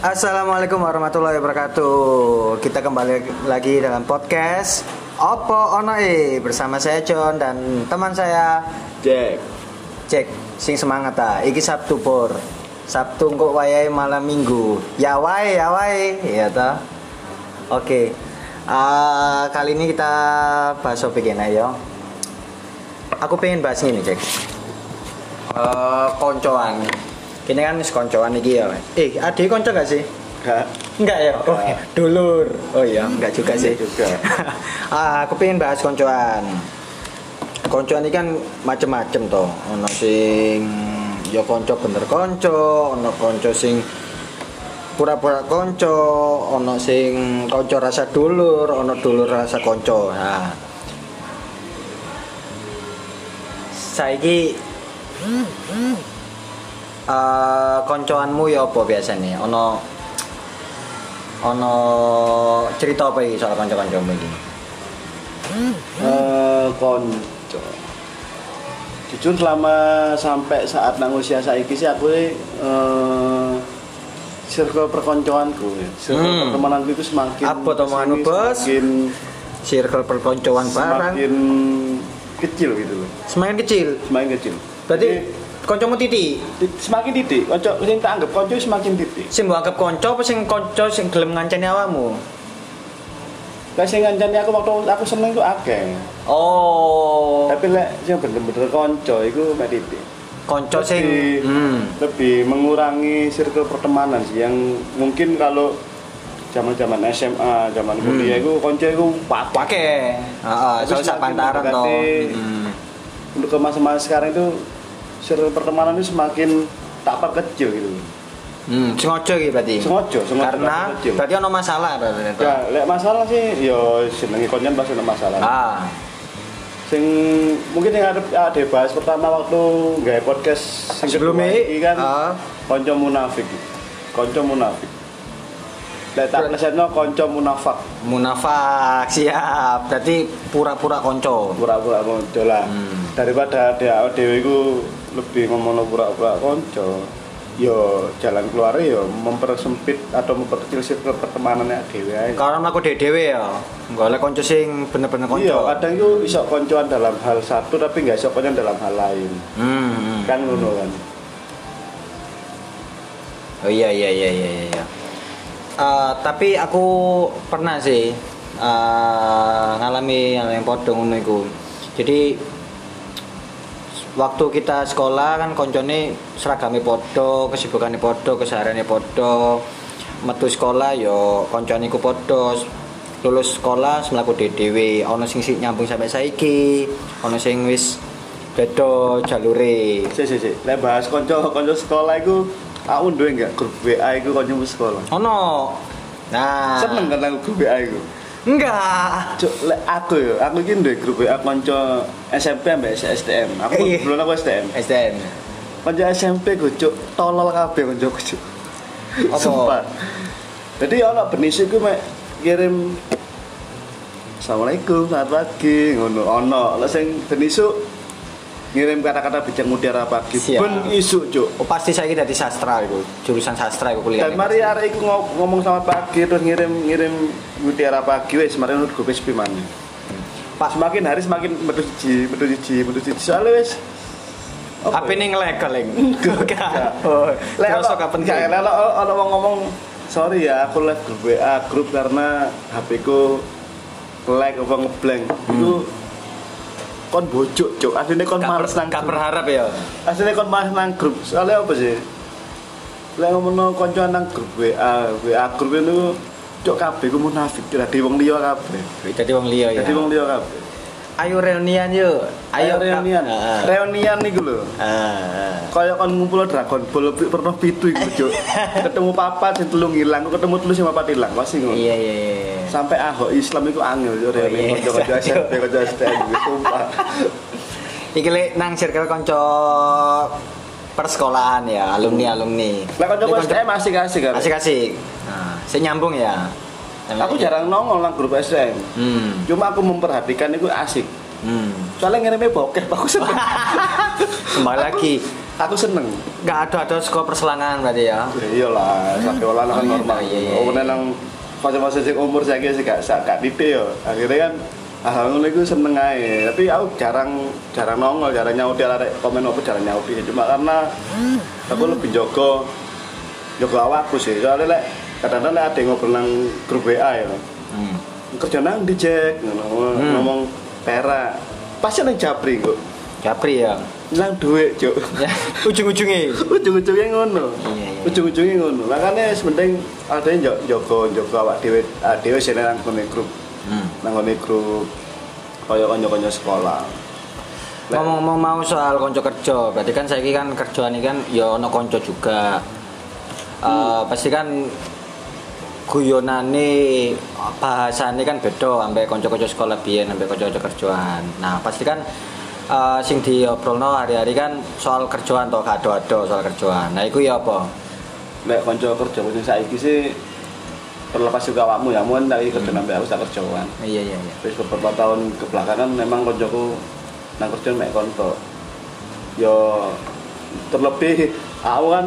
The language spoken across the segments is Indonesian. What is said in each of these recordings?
Assalamualaikum warahmatullahi wabarakatuh. Kita kembali lagi dalam podcast Oppo Onoi bersama saya John dan teman saya Jack. Jack. Sing semangat ta. Iki Sabtu por. Sabtu kok wayahe malam Minggu. Ya wae ya wae. Ya ta. Oke. Eh, kali ini kita bahas topik enak ya. Aku pengen bahas ini Jack. Eh koncoan. Kini kan wis koncoan iki ya. Eh, adik konco gak sih? Gak. Enggak ya? Oh, iya. dulur. Oh iya, enggak juga sih. Enggak juga. ah, aku pengen bahas koncoan. Koncoan ini kan macem-macem toh. Ono sing ya konco bener konco, ono konco sing pura-pura konco, ono sing konco rasa dulur, ono dulur rasa konco. Nah. Saiki Hmm, eh koncoanmu ya apa biasanya? Ono ono cerita apa iki soal kanca-kancamu iki? Eh, konco. Jujur selama sampai saat nang usia saiki sih aku eh circle perkoncoanku ya. Circle Hmm. pertemananku itu semakin Apa to omonganmu, kesini, Bos? Semakin Circle perkoncoan barang semakin kecil gitu loh. semakin kecil. Semakin kecil. Berarti Jadi, kancamu titik. ti- semakin titik, konco yang tak anggap konco semakin titik. Sing mbok anggap kanca apa sing kanca sing gelem ngancani awakmu? Lah sing ngancani aku waktu aku seneng itu akeh. Oh, Tapi lek sing bener-bener konco iku mek titik. kanca sing Lebih- hmm. lebih mengurangi circle pertemanan sih yang mungkin kalau zaman-zaman SMA, zaman Hmm. kuliah itu konco itu pak Pakai, heeh, Tapi soal sak semakin pantaran to. mendekati- Hmm. untuk ke masa-masa sekarang itu circle pertemanan itu semakin tak perkecil gitu. Hmm, sengaja iki berarti. Sengaja, sengaja Karena kecil. berarti ono masalah berarti. to. Ya, lek masalah sih, yo senengi konjen pasti ada masalah. Ah, Sing mungkin yang ada ada bahas pertama waktu nggak podcast sing Sebelumnya, kedua iki kan ah. konco munafik, konco munafik. Lek tak lesetno konco munafik. munafak siap. Berarti pura-pura kanca. pura-pura konco lah Hmm. daripada ada dewi ku lebih ngomong pura-pura konco yo jalan keluar yo mempersempit atau memperkecil circle pertemanannya dewi aja Karena mlaku dhewe-dhewe ya. Enggak oleh kanca sing bener-bener kanca. iya kadang itu iso koncoan dalam hal satu tapi nggak iso koncoan dalam hal lain Hmm. hmm. kan ngono kan Oh iya iya iya iya iya, iya. Eh, tapi aku pernah sih eh, ngalami hal yang podo ngono iku. Jadi waktu kita sekolah kan koncone seragame podo, kesibukane podo, kesehariane podo. Metu sekolah yo koncone iku podo. Lulus sekolah semlaku dhewe ono sing sik nyambung sampai saiki, ono sing wis beda jalure. si si si lek bahas konco konco sekolah itu aku duwe nggak grup WA itu konco sekolah Ono. Nah. seneng kan aku grup WA itu Enggak. Cuk, lek aku yo, aku iki duwe grup WA konco SMP ambek STM. Aku Iya. belum aku STM. SDM. Konco SMP gue cuk, tolol kabeh konco gue cuk. Apa? Sumpah. Jadi ana benis iku mek kirim Assalamualaikum, selamat pagi, ngono ono. Lah sing ben isuk ngirim kata-kata bijak mutiara pagi. Siap. Ben isuk cuk. Oh pasti saya dari sastra itu, jurusan sastra itu kuliah. Dan mari arek iku ngo- ngomong selamat pagi terus ngirim ngirim mutiara pagi wis mari nut gue wis pimane. Hmm. Pak, semakin hari semakin metu siji, metu siji, metu siji. Soalnya wis apa ini ngelek kaleng? Enggak. Oh, Lek terus ono- kapan Gak, lek ono ono wong ngomong sorry ya aku live grup WA grup karena HP ku lag apa ngeblank. Hmm. Itu kon bojok, Cuk. Asline kon males nang Gak grup. berharap ya. Asline kon males nang grup. Soalnya apa sih? Lek ngomongno kanca nang grup WA, WA grup itu Cuk kabeh ku munafik, dadi wong liya kabeh. Jadi wong liya ya. Dadi wong liya kabeh. Ayo reunian yuk. Ayo Ah, reunian. Heeh. Reunian niku lho. Ah, Heeh. kaya kan ngumpul Dragon Ball pi- pernah pitu iku Cuk. ketemu papat sing telung ilang ketemu telu sing papat ilang pasti ngono Iya iya iya. sampai ahok Islam iku angel yo iya. rene kanca-kanca SMP kanca STM sumpah Iki lek nang circle kanca persekolahan ya, alumni alumni. lah kanca STM asik asik kan Kasih kasih. Nah, saya nyambung ya. aku jarang nongol nang grup STM Hmm. cuma aku memperhatikan itu asik Hmm. soalnya ngirimnya bokeh aku seneng Kembali lagi aku seneng nggak ada ada sekolah perselangan berarti ya ya iyalah sakit olah Oh, kan iya, normal iya, iya, umurnya iya. nang masa-masa sing umur saya kira gak gak titik ya akhirnya kan alhamdulillah itu seneng aja tapi aku jarang jarang nongol jarang nyauti arek komen apa jarang nyauti cuma karena Hmm. aku lebih jogo jogo awakku sih soalnya lek kadang-kadang lek ada yang ngobrol nang grup WA ya hmm. kerja nang di Jack ngomong, Hmm. ngomong perak pasti nang japri kok Japri ya nang duit cok Ya, ujung-ujungnya ujung-ujungnya ngono Iya, iya. ujung-ujungnya ngono makanya sementing ada yang jogo jogo awak dewe ah, dewe sih nang ngone grup hmm. nang ngone grup kaya kanca-kanca sekolah Lek- ngomong-ngomong mau soal konco kerja berarti kan saya kan kerjaan ini kan ya ono konco juga Eh, pasti kan guyonane bahasane kan beda sampai konco-konco sekolah biyen sampai konco-konco kerjaan nah pasti kan eh, sing diobrolno hari-hari kan soal kerjaan toh kado-kado soal kerjaan nah itu ya apa lek kanca kerja kanca saiki sih terlepas juga awakmu ya mun lagi kerja Hmm. nang aku tak kerjaan iya iya iya terus beberapa tahun kebelakangan memang koncoku nang kerja mek konto yo terlebih aku kan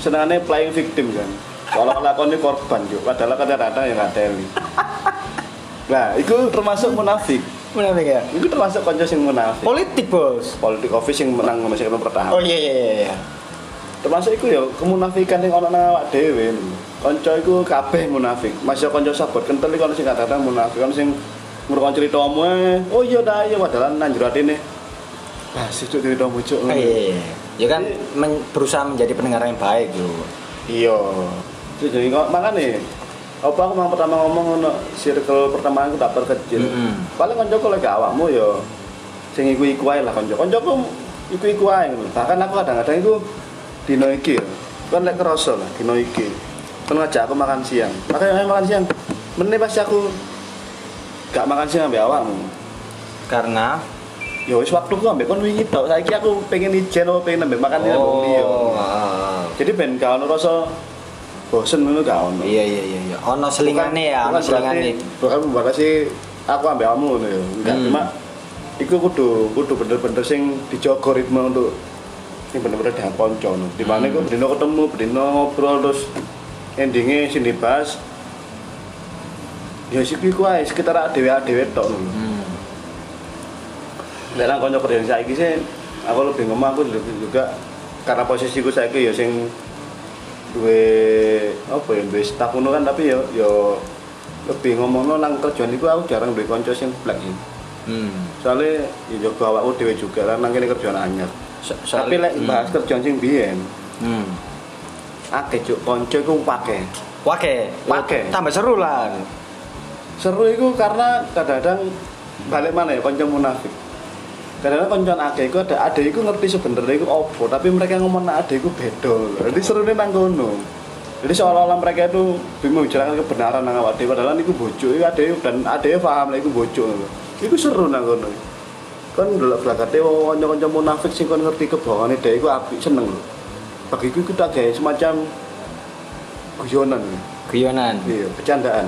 senangannya playing victim kan kalau lakon ini korban juga padahal kadang-kadang ya yang ngateli nah itu termasuk munafik Munafik ya itu termasuk konco sing munafik politik bos politik office yang menang masih ketemu pertahanan oh iya iya iya, iya termasuk itu ya kemunafikan yang orang awak dewe konco itu kabeh munafik masih konco sabar kental itu sing kadang-kadang munafik kan sing ngurungkan cerita omwe oh iya dah iya padahal nanjur hati nih pasti cuk cerita omwe cuk Oh, iya, iya. ya kan men- berusaha menjadi pendengar yang baik yo iya terus jadi kok makan nih apa aku mau pertama ngomong ono circle pertama aku tak perkecil Mm-mm. paling konco kalau gak awakmu ya sing iku iku ae lah konco konco aku iku iku ae ngono. bahkan aku kadang-kadang itu dino iki ya. kan lek kerasa lah dino iki kan ngajak aku makan siang makanya ayo makan siang meneh pasti aku gak makan siang ambek awakmu karena ya wis waktu ku ambek kon wingi tok saiki aku pengen ijen apa pengen ambek makan siang Oh. ambek dia. ah. jadi ben gak ono rasa bosen ngono gak ono iya iya iya iya ono selingane ya ono bukan berarti selingane bukan membatasi aku ambil kamu ngono ya enggak Hmm. cuma iku kudu kudu bener-bener sing dijogo ritme untuk sing bener-bener dah konco no. di Hmm. mana iku bendino ketemu bendino ngobrol terus endingnya sing dibahas ya sih iku ae sekitar dhewe dhewe tok ngono hmm. lek nang kanca kerja saiki sih aku lebih ngomong aku lebih juga karena posisiku saiki ya sing duwe apa ya duwe staff ngono kan tapi ya ya lebih ngomongno nang kerjaan iku aku jarang duwe kanca sing black sih. hmm. Soale ya jaga awakku dhewe juga lah nang kene kerjaan anyar. So- soal- Tapi lek hmm. bahas kerjaan sing biyen hmm. akeh juk kanca iku pake. Wake, Wake. tambah seru lah. Seru iku karena kadang-kadang balik mana ya kanca munafik. Kadang-kadang kancan akeh iku ada ade iku ngerti sebenarnya iku opo, tapi mereka ngomong nak ade iku beda. Jadi serune nang kono. Jadi seolah-olah mereka itu bingung menjelaskan kebenaran nang awak dhewe padahal niku bojo iku ade dan ade paham lek iku bojo. Iku seru nang kono. Kan ndelok belakate wong kanca-kanca munafik sing kon ngerti kebohongane dhewe iku apik seneng lho. Bagiku kita gawe semacam guyonan. Lho. Guyonan. Iya, bercandaan.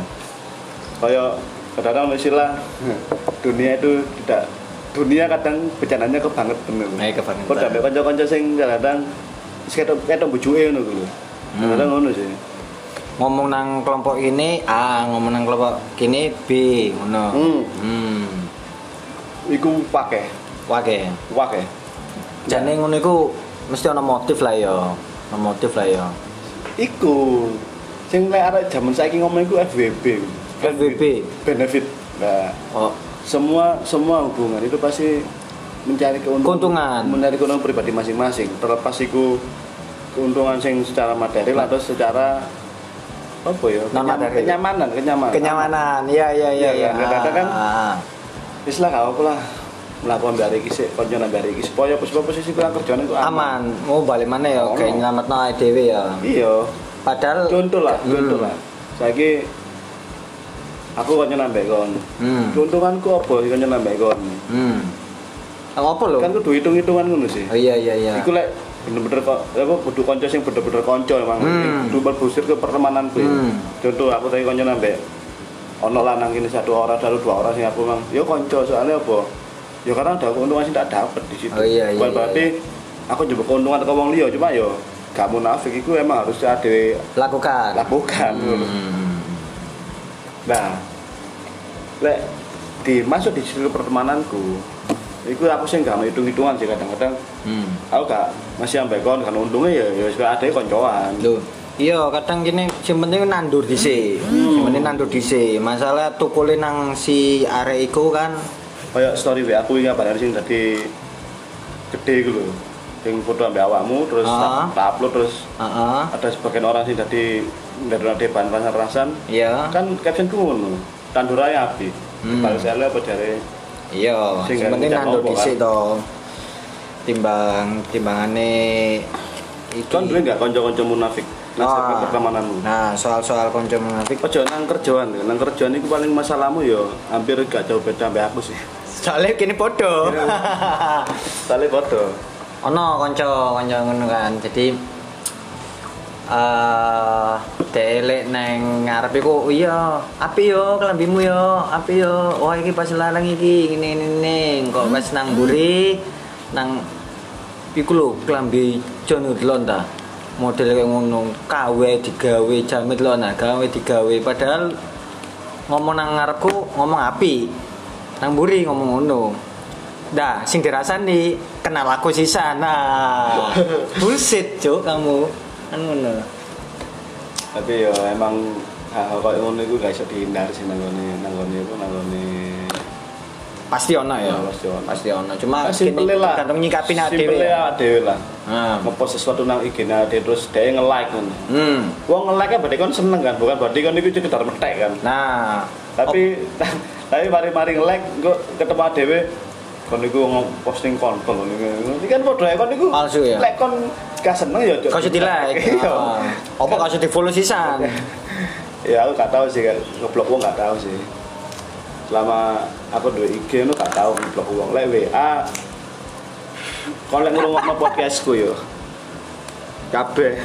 Kayak kadang-kadang istilah dunia itu tidak dunia kadang bercandanya kebangetan gitu. Nah, kebangetan. Kok sampai kanca-kanca sing kadang sekedar ketok bujuke ngono gitu. Kadang ngono sih. Ngomong nang kelompok ini A, ngomong nang kelompok kini B, ngono. Hmm. Hmm. Iku pakai, Wake. Ya. pakai. Jane ngono iku mesti ono motif lah ya. Ono motif lah ya. Iku sing lek arek jaman saiki ngomong iku FWB. FWB. benefit. Nah, Oh, semua semua hubungan itu pasti mencari keuntungan, Keuntungan. mencari keuntungan pribadi masing-masing terlepas itu keuntungan sing secara material atau secara apa ya Nah. Non kenyam- material. kenyamanan kenyamanan kenyamanan. Iya, iya, iya, Iya, iya. kan? Kadang-kadang Ah, ah. wis lah gak apa lah melakukan dari kisih konjonan dari kisih supaya posisi posisi kurang kerjaan itu aman, aman. Mau balik mana ya? Ono. Kayak nyelametno awake dhewe ya. iya Padahal contoh lah Hmm. contoh lah saiki aku konjonan mbek kon Hmm. keuntunganku apa konjonan mbek kon Hmm. Nang apa lho? kan kudu hitung-hitungan ngono sih Oh, iya iya iya. Iku lek bener-bener kok apa kudu kanca sing bener-bener kanca emang. Hmm. Kudu berbusir ke pertemanan kuwi. Hmm. Contoh aku tadi kanca nambe ono lanang ini satu orang satu dua orang sing aku mang. Yo kanca soalnya apa? Ya karena ada Ya keuntungan sing tak dapat di situ. Oh, iya, iya, Bukan iya, berarti aku juga keuntungan ke wong liya cuma yo gak munafik iku emang harus ada lakukan lakukan Nah. Hmm. Nah, lek dimasuk di situ pertemananku, itu aku sih nggak hitung hitungan sih kadang-kadang. Hmm. Aku gak masih ambek kon kan untungnya ya ya sudah ada koncoan. Loh, iya kadang gini sing penting nandur dhisik. Hmm. Sing penting nandur dhisik. Masalah tukule nang si arek iku kan Kayak story WA aku ingat pada sini tadi gede gitu loh. Yang foto ambek awakmu terus Ah. tak tak upload terus heeh. ada sebagian orang sih tadi dari nanti bahan pasar rasan Iya. kan captionku ngono tandurane api Hmm. kalau saya apa dari Iya, Sing sing penting gak kan? nandur ngucap apa, dhisik to. Timbang timbangane iki. kan duwe nggak konco-konco munafik Ah. nasihat pertemananmu Nah, soal-soal konco munafik Ojo nang kerjaan, nang kerjaan itu paling masalahmu ya hampir gak jauh beda sampe aku sih. soalnya kini podo. Soalnya foto. ono kanca kanca ngono kan jadi eh delek neng ngarep iku "Oh iya api yo kelambimu yo api yo wah iki pas larang iki ngene ngene ngene." kok pas nang mburi nang iku lho kelambi John Woodland ta model kayak ngono kawe digawe jamet lho nah gawe digawe padahal ngomong nang ngarepku ngomong api nang mburi ngomong ngono Dah, sing dirasani kenal aku sisan. Nah, bullshit cuk kamu. Kan ngono. Tapi ya emang hal-hal kayak ngono itu gak bisa dihindari sih nanggone nanggone itu nanggone. Pasti ono ya. Ya, pasti ono. Pasti ono. Cuma Ah, Simpel lah. Ah, tergantung nyikapi nak Simpel dhewe. ya. lah dhewe lah. Nah. Ngepost sesuatu nang IG nah dia terus dia nge-like ngono. Hmm. Wong nge-like kan berarti kan seneng kan, bukan berarti kan itu sekedar metek kan. Nah, Tapi tapi mari-mari nge-like kok ketemu dhewe kon niku posting konten ngono niku. Ini kan padha ae kon niku. Palsu ya? Lek kon gak seneng ya. kau sudah like. Iya. Ah. Apa kau sudah follow sisan? Ya aku gak tahu sih kan ngeblok wong gak tahu sih. Selama aku duwe IG nu gak tahu ngeblok wong. Lek WA kon lek ngrungokno podcastku yo. Kabeh.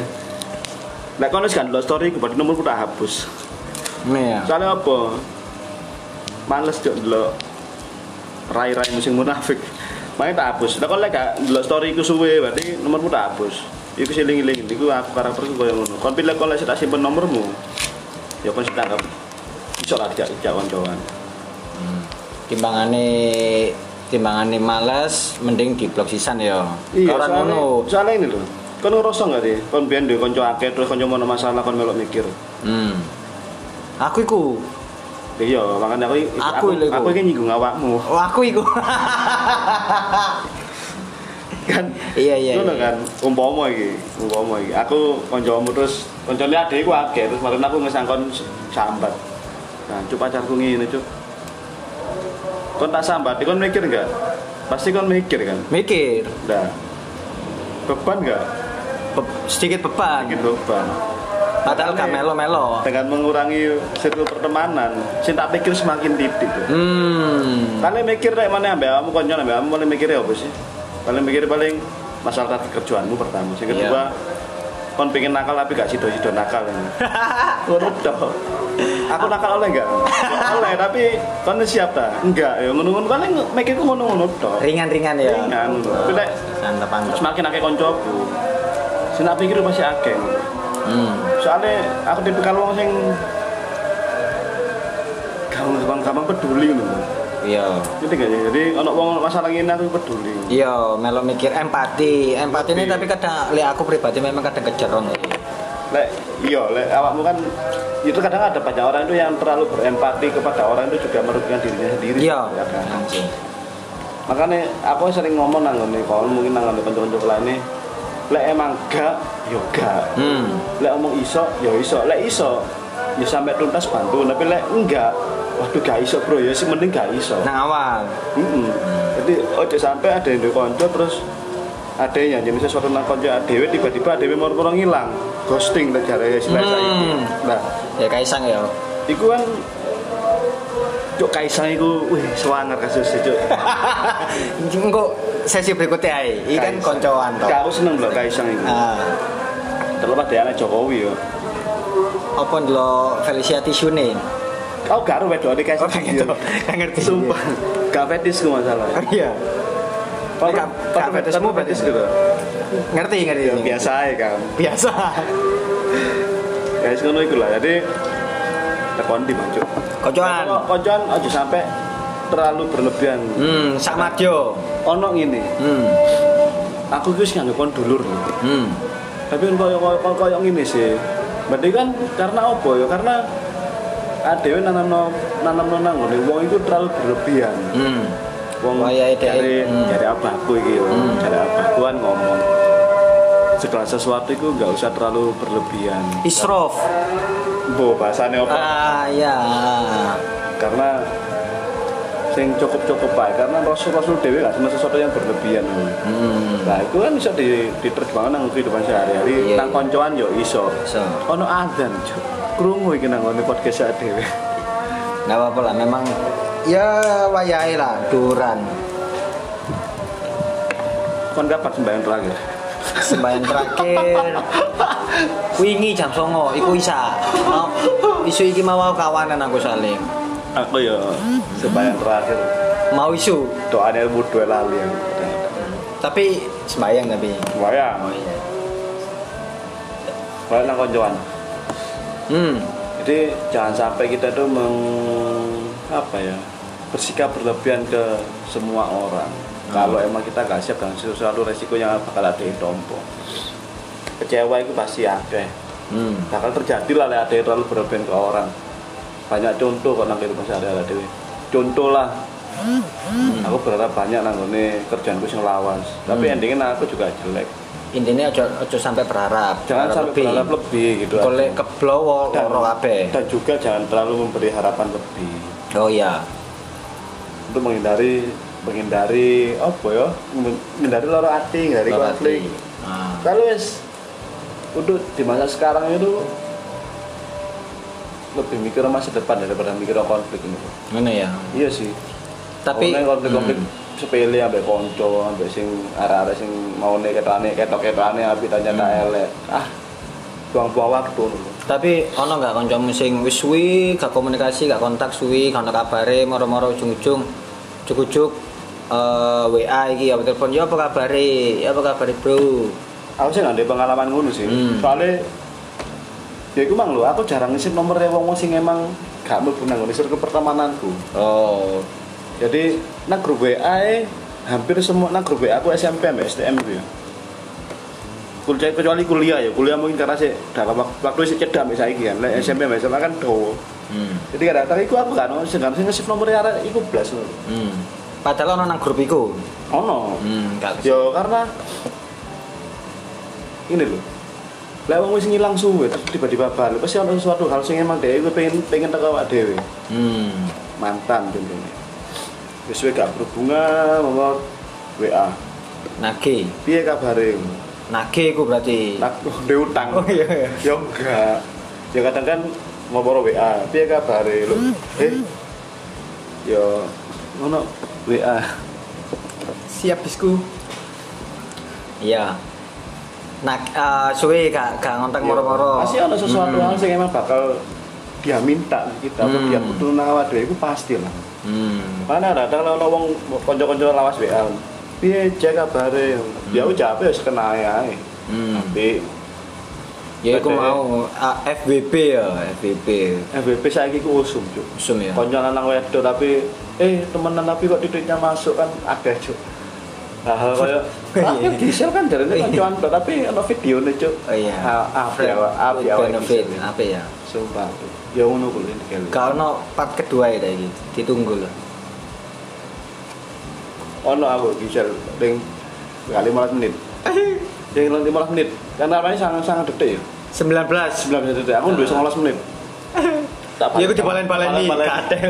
Lek kon wis gak ndelok story ku berarti nomorku tak hapus. Iya. Soalnya apa? Males juga ndelok rai-rai musim munafik. Makanya tak hapus. Lah kon lek gak ndelok story ku suwe berarti nomormu tak hapus. Iku siling-iling, iku aku karakterku koyo ngono. Kon pilih kon lek sik tak simpen nomormu. Ya kon sik tanggap. Iso lah dijak dijak kancoan. Timbangane timbangane males mending diblok sisan ya. Ora Iya, soalnya- ngono. Soalnya ini lho. Kon ngerasa gak sih? Kon biyen duwe kanca akeh terus kanca ono masalah kon melok mikir. Hmm. Aku iku. Iya, makanya aku Aku aku, lho iku. aku iki nyinggung awakmu. Oh, aku iku. kan Iya, iya, ngono iya. kan umpama iki umpama iki aku kancamu terus kancane adekku akeh terus kemarin aku ngesangkon sambat nah cuk pacarku ngene cuk kon tak sambat kon mikir enggak pasti kon mikir kan Mikir. nah beban enggak Be- sedikit beban. Sedikit beban iya. Padahal gak melo-melo. dengan mengurangi circle pertemanan sing tak pikir semakin titik tuh. Hmm. Kalian mikir deh mana ambek kamu konyon ambek kamu paling mikirnya apa sih? Paling mikir paling masalah target kerjaanmu pertama. Sing kedua, kon pengen nakal tapi gak sido-sido nakal ini. Urut dong. Aku nakal oleh enggak? oleh tapi kon siap ta? Enggak, ya ngono-ngono paling mikirku ngono-ngono dong. Ringan-ringan ya. Ringan. Tapi lek Mantap, mantap. semakin akeh koncoku. Sing tak pikir masih akeh. Hmm. Soalnya aku tipikal wong sing gampang-gampang peduli ngono. Iya. Ngerti gak sih? Jadi ono wong masalah ngene aku peduli. Iya, melo mikir empati. Empati ini Empati. tapi kadang li aku pribadi memang kadang kejeron sih. Lek iya, lek awakmu kan itu kadang ada banyak orang itu yang terlalu berempati kepada orang itu juga merugikan dirinya sendiri. Iya. Ya kan? Anjing. Makanya aku sering ngomong nang ngene kon mungkin nang ngene kanca-kanca lainnya lek emang gak yo gak. Hmm. Lek omong iso yo iso, lek iso ya sampai tuntas bantu, tapi lek enggak waduh gak iso bro ya sih mending gak iso. Nang awal. Mm-mm. Jadi ojo sampai ada yang di konco terus ada yang jadi sesuatu nang konco adewe tiba-tiba adewe moro-moro ngilang ghosting lah jare istilah saiki. Hmm. Nah, Ya Kaisang ya. iku kan Cuk Kaisang iku wih sewanger kasus e, Cuk. Engko sesi berikutnya ae. Iki kan Kaisang. koncoan to. Gak, aku seneng lho Kaisang iku. Ah. Terlepas dari anak Jokowi ya. Apa ndelok Felicia Tisune? Aku gak ro wedok Oh, Kaisang. gak gitu. Gak ngerti. Sumpah. Gak fetis ku masalah. Iya. Gak- gak Pak fetismu, fetis gitu. ngerti ngerti ya biasa ya kan biasa ya wis ngono iku lah jadi tekon di mancuk Kocokan. kocokan aja sampai terlalu berlebihan hmm sak madyo ono ngene hmm aku iki wis nganggep kon dulur lho. hmm tapi kan koyo koyo koyo- koyo ngene sih berarti kan karena apa ya karena adewe nanamno nanamno nang ngene wong iku terlalu berlebihan hmm wong Waya ide- dari hmm. dari abahku iki yo Hmm. dari abahku kan ngomong segala sesuatu itu nggak usah terlalu berlebihan isrof bo bahasanya apa ah ya karena sing cukup cukup baik karena rasul rasul dewi nggak sama sesuatu yang berlebihan hmm nah itu kan bisa di, diterjemahkan nang kehidupan sehari-hari Iya, nang iya. koncoan yo iso so ono adzan cuk krungu iki nang ngene podcast sak dhewe nggak apa-apa lah memang ya wayai lah duran kon kapan sembahyang terakhir sembahyang terakhir wingi jam songo iku isa no, isu iki mau kawanan aku saling aku yo sembahyang terakhir mau isu doanya ilmu dua lali yang tapi sembahyang tapi sembahyang Iya. oh iya balik nang koncoan hmm jadi jangan sampai kita tuh meng apa ya bersikap berlebihan ke semua orang Hmm. kalau emang kita nggak siap dengan sesuatu resiko yang bakal ada di tompo kecewa itu pasti ada hmm bakal terjadi lah lek ada yang terlalu berlebihan ke orang banyak contoh kok nang kehidupan sehari-hari dhewe. contoh lah Hmm. aku berharap banyak nang ngone kerjaanku sing lawas tapi endingnya aku juga jelek intinya aja aja sampai berharap jangan sampai berharap lebih gitu kolek keblowo dan, loro kabeh dan juga jangan terlalu memberi harapan lebih oh iya untuk menghindari menghindari apa ya menghindari loro hati menghindari loro konflik ati. Ah. kalau wis untuk di masa sekarang itu lebih mikir masa depan daripada mikir konflik ini ngono ya iya sih tapi Pokoknya konflik-konflik Hmm. sepele ambek konco ambek sing arah-arah sing mau nih ketane ketok ketane tapi tanya tak Hmm. elek ah buang-buang waktu tapi ono nggak kancamu sing wis suwi gak komunikasi gak kontak suwi gak ono kabare moro-moro ujung-ujung cukup-cukup eh WA iki apa telepon ya apa kabare ya apa kabare bro aku sih nggak ada pengalaman ngono sih Hmm. soalnya ya itu mang lho aku jarang ngisi nomornya wong wong sing emang gak mau nang ngisi ke pertemananku oh jadi nang grup WA e, hampir semua nang grup WA aku SMP mbak STM itu ya kuliah kecuali kuliah ya kuliah mungkin karena sih dalam wak- waktu sih cedak mbak saiki kan Lek SMP mbak SMA kan dowo hmm. jadi kadang-kadang iku aku kan sing sing ngasih nomornya arek iku blas lho hmm. padahal ono nang grup iku ono hmm, gak ya karena ini loh lah wong wis ngilang suwe terus tiba-tiba balik pasti ada sesuatu hal sing emang dhewe iku pengen pengen teko awak dhewe hmm. mantan contohnya wis suwe gak berhubungan apa WA nage piye kabare nage iku berarti tak ndek utang oh iya iya. ya enggak ya kadang kan ngomong WA piye kabare lho eh ya ngono WA siap bisku iya nak eh, suwe gak gak ngontak moro-moro pasti ada sesuatu Hmm. hal yang emang bakal dia minta ke kita atau Hmm. dia butuh nawa dhewe iku pasti lah hmm. mana ada kalau ada wong kanca-kanca lawas WA piye cek kabare ya ucap ya sekena ae Hmm. tapi Ya aku Ada. mau ah, FBB ya, FBB. FBB saiki ku usum cuk Usum ya. konco lanang wedok tapi eh temenan tapi kok titiknya masuk kan ada cuk hal kayak Iya, ah iya. di share kan dari ini koncoan tok, tapi ada video nih cuk Oh iya. Ah, apa ya Wak? apa ya Wak? benefit apa ya? sumpah Cuk. ya ngono kuwi kali Kalau part kedua ya lagi, ditunggu loh. ono aku di share ring kali malas menit yang nanti malas menit karena namanya sangat sangat detik ya 19. sembilan belas detik aku udah malas menit tak Nah. Ya aku dibalen-baleni kadel.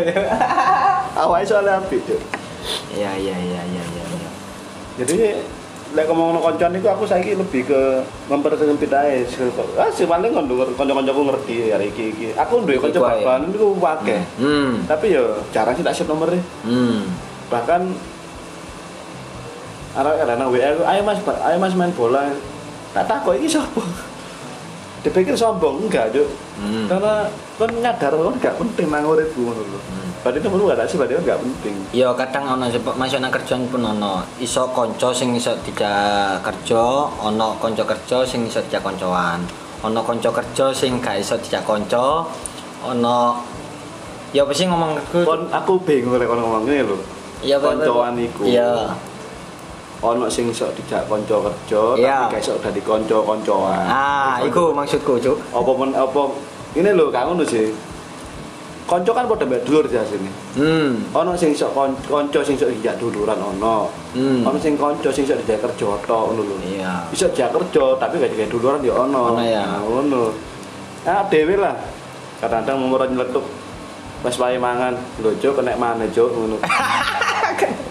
awalnya soalnya api Cuk. Ya ya ya ya ya. ya. jadi lek ngomong koncoan itu aku saiki lebih ke mempersempit ae sing kok. ah sing paling kon denger kanca-kancaku ngerti ya iki iki aku duwe kanca Iku ae. baban iku akeh Hmm. tapi ya jarang sih tak save nomornya Hmm. bahkan arek arek nang WA aku, ayo Mas ba- ayo Mas main bola tak takok iki sapa dipikir sombong enggak cuk Hmm. karena kan nyadar kan nggak penting nang uripku ngono lho Hmm. padahal itu menurut gak sih padahal nggak penting Ya kadang ana sebab masuk nang kerjaan pun ana iso kanca sing iso dijak kerja, ana kanca kerja sing iso dijak kancoan. Ana kanca kerja sing gak iso dijak kanca, ana ya apa sih ngomong kon aku bingung lek kon ngomong ngene lho Ya, apa- apa- koncoan iku Iya. ono sing sok dijak konco kerja Iya. tapi gak sok dari konco koncoan Ah, iku maksudku, Cuk. apa men apa ini lho kang ngono sih konco kan pada mbak dulur ya sini Hmm. ono sing sok kon- konco sing sok dijak duluran ono Hmm. ono sing konco sing sok dijak kerja tok ngono lho Iya. bisa dia kerja tapi gak kayak duluan ya ono Ono ya. Nah, ono ah dewe lah kadang-kadang mau orang nyeletuk pas wae mangan lho cuk kena mana cuk ngono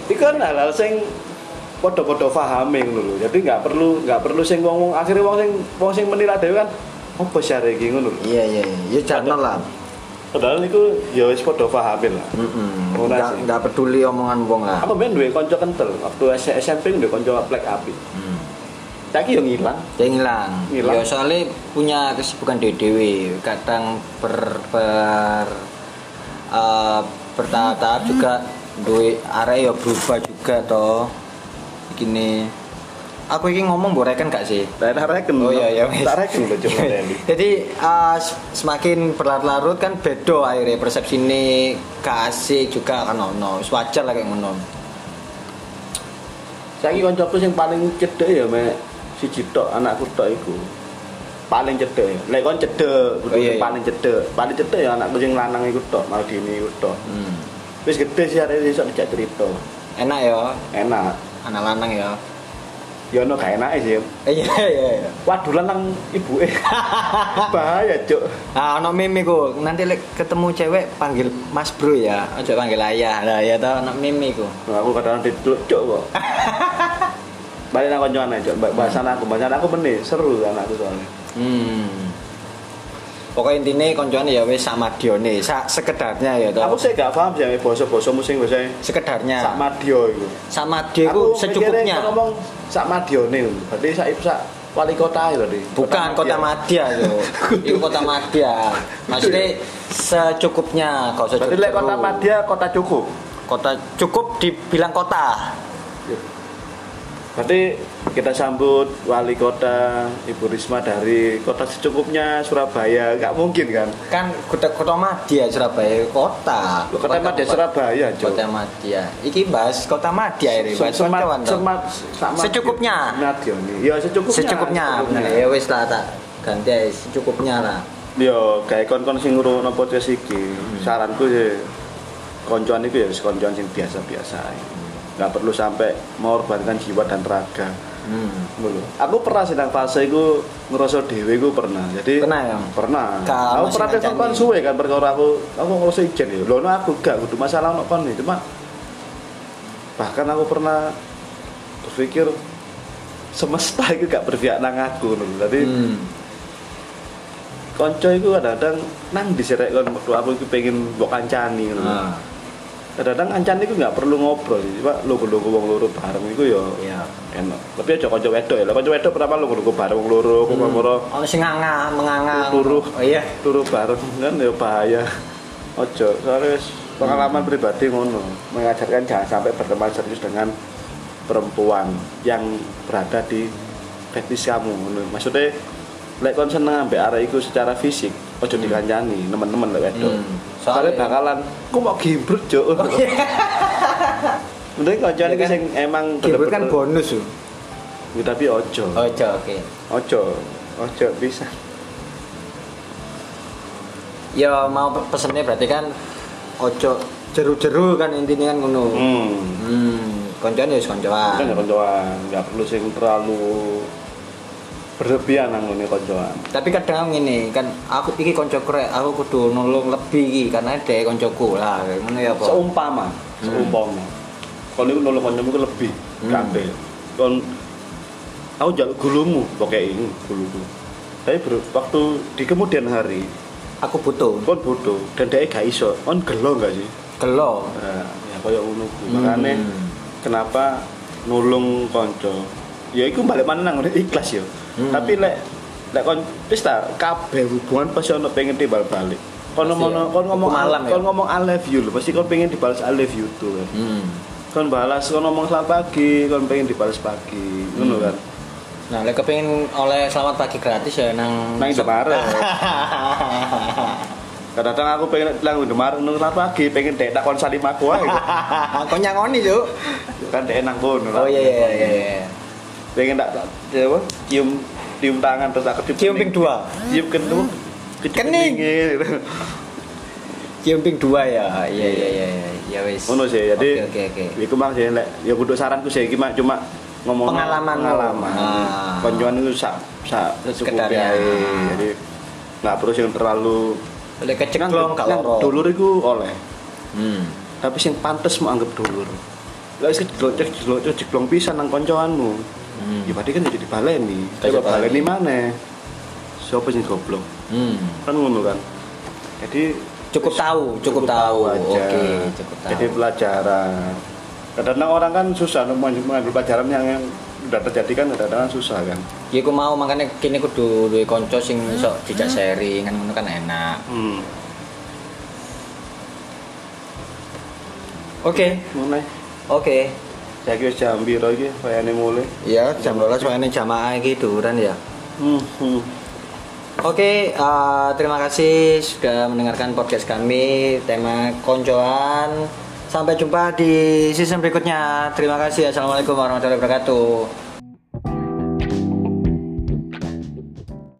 iku kan hal-hal sing podo-podo pahami ngono lho jadi nggak perlu nggak perlu sing wong wong akhirnya wong sing wong sing menilai dewe kan opo syare iki ngono lho Iya, iya, iya. Ya jarno lah. padahal iku ya wis podo pahami lah Heeh. Ora Enggak sih. enggak peduli omongan wong lah. aku main duwe konco kental waktu S- SMP duwe konco plek api Hmm. saiki yo ngilang Dia ngilang. Ngilang. Ya soalnya punya kesibukan dewi Kadang ber ber eh, bertahap-tahap juga duit area ya berubah juga toh. Gini. Aku ini ngomong gorekan gak sih? daerah reken Oh iya iya. wis. tak reken lho cuk ngenteni. Jadi eh, s- semakin berlarut-larut kan bedo akhirnya persepsi ini kasih juga kan ono. Wis Wajar lah kayak ngono. Saiki koncoku sing paling cedhek ya mek siji tok anakku tok iku. Paling cedhek. ya. Lek kon cedhek, kudu Oh, iya, sing iya. paling cedhek. Paling cedhek ya anakku sing lanang iku tok, Maldini iku tok. Hmm. Wis gede sih arek iso dijak cerita. Enak ya Enak. anak lanang ya. Ya ono gak enake sih. Iya iya iya. Waduh lanang ibuke. Bahaya, Cuk. Ah, ono meme ku. Nanti lek ketemu cewek panggil Mas Bro ya. Aja panggil ayah. Lah ya tau ono meme ku. Nah, aku kadang didelok Cuk kok. Balik nang koncoan aja, Cuk. Bahasan aku, bahasan aku benih, seru anakku soalnya. Hmm. Pokoknya intinya koncoan ya wis sama Dione, sak sekedarnya ya tau. Aku sih gak paham sih basa-basa musing basa Sekedarnya. sak madya iku. Sama dia ku mikirnya Nah. secukupnya. kalau ngomong sak Madione lho. berarti sak sak wali kota ya berarti Bukan kota Madya yo. Itu kota Madya. Maksudnya secukupnya kok berarti lek kota Madya kota cukup Kota cukup dibilang kota. berarti kita sambut wali kota Ibu Risma dari kota secukupnya Surabaya nggak mungkin kan Kan kota kota Madya Surabaya kota. Loh, kota Madya Surabaya Jo. Kota Madya. Iki bahas Kota Madya ini, Se- bahas semat- kawan toh. semat- sak Madione. Iya, Secukupnya. Madione. ya secukupnya Secukupnya, bener. ya wis lah tak ganti ae secukupnya lah. Yo, kayak Ya, kon-kon sing ngrungokno podcast iki, Hmm. saranku sih koncoan itu ya wis koncoan sing biasa-biasa. ae. Nggak perlu sampai mengorbankan jiwa dan raga. Hmm. Ngono lho. Aku pernah sih nang fase iku ngerasa dhewe iku pernah. Jadi Pernah ya? Pernah. Kalau aku masih pernah tekan ngancani. kon suwe kan perkara aku, aku ngerasa ijen ya. Lho, no aku gak kudu masalah ono kon nih, cuma bahkan aku pernah berpikir semesta itu gak berpihak nang aku lho. Jadi Hmm. konco itu kadang-kadang nang diserek kon metu aku iki pengen mbok kancani ngono. Ah, Kadang-kadang kancani iku nggak perlu ngobrol sih, cuma logo-logo wong loro bareng iku ya iya. enak. Tapi aja kanca wedok ya. Lah kanca wedok kenapa logo-logo bareng wong Hmm. loro kumpul-kumpul Ono Oh, sing nganga, menganga. Turu. Oh iya. turu bareng kan ya bahaya. Ojo, soalnya wis pengalaman pribadi ngono mengajarkan jangan sampai berteman serius dengan perempuan yang berada di fetish kamu ngono. Maksudnya lek kon seneng ambek arek iku secara fisik ojo dikancani teman-teman lek wedok. Hmm. Soalnya Soalnya- bakalan Oh, iya. ku mau gimbrut jo. Mending kancan Ya iki kan? sing emang Kibut kan bener-bener- bonus yo. Ya, tapi ojo. Ojo Oh, iya, oke. Ojo. Ojo bisa. Ya mau pe- pesennya berarti kan ojo jeru-jeru kan intinya kan ngono. Hmm. Hmm, koncoan ya wis koncoan. kan ya koncoan nggak perlu sing terlalu berlebihan nang ngene koncoan tapi kadang ngene kan aku iki konco krek aku kudu nulung lebih iki karena dhek koncoku lah ngono ya apa seumpama Hmm. seumpama kon iku nulung kancamu ku lebih Hmm. kabeh kon aku njaluk gulumu pokoke ini guluku tapi ber- waktu di kemudian hari aku butuh kon bodoh dan dia gak iso kon gelo gak sih gelo Nah, ya koyo ngono ku Hmm. makane kenapa nulung konco ya iku balik mana nang ngene, ikhlas ya Hmm. tapi lek lek kon wis ta kabeh hubungan pasti ono pengen timbal balik kon Pasti ngomong ya. kon ngomong Hukum alam ya. kon ngomong I love you lho pasti kon pengen dibalas I love you tuh kan Hmm. kon balas kon ngomong selamat pagi kon pengen dibalas pagi ngono kan Nah, lek kepengin oleh selamat pagi gratis ya nang nang Indomaret kadang-kadang aku pengen nang Indomaret nang selamat pagi pengen dek tak kon salim aku ae Kok nyangoni, Cuk? kan dek nang kono lah. Oh iya iya iya iya. pengen tak tak- ya apa cium cium tangan terus tak kecium Cium ping kening. dua. cium kening kecium Kening. keningnya, gitu. Cium ping dua ya. Iya iya iya iya. Ya wis. ngono sih jadi Oke oke oke. iku mang sih lek ya kudu saranku sih iki Mang, cuma ngomong Pengalaman. pengalaman Ah. ya. konjoan itu sak sak secukupnya Sekedarnya. ae. jadi nggak perlu sing terlalu Lek keceklong Nang- nang kalau dulur iku oleh Hmm. tapi sing pantes mau anggap dulur lek sing jelocek jelocek jeglong pisan nang koncoanmu Hmm. ya berarti kan jadi dibaleni Kaya coba baleni. baleni maneh siapa sing goblok Hmm. kan ngono kan jadi Cukup tahu, cukup tahu. aja. Oke, cukup tahu. jadi pelajaran kadang-kadang orang kan susah untuk mengambil pelajaran yang, yang udah terjadi kan kadang-kadang susah kan Ya aku mau makanya kini kudu duwe kanca sing iso dijak sharing kan ngono kan enak. hmm. Oke. mulai Oke. saya kira jam biru lagi kayaknya mulai Ya jam 12 wayane jamaah iki duran ya. hmm. hmm. Oke, eh, terima kasih sudah mendengarkan podcast kami tema koncoan. Sampai jumpa di season berikutnya. Terima kasih. Assalamualaikum warahmatullahi wabarakatuh.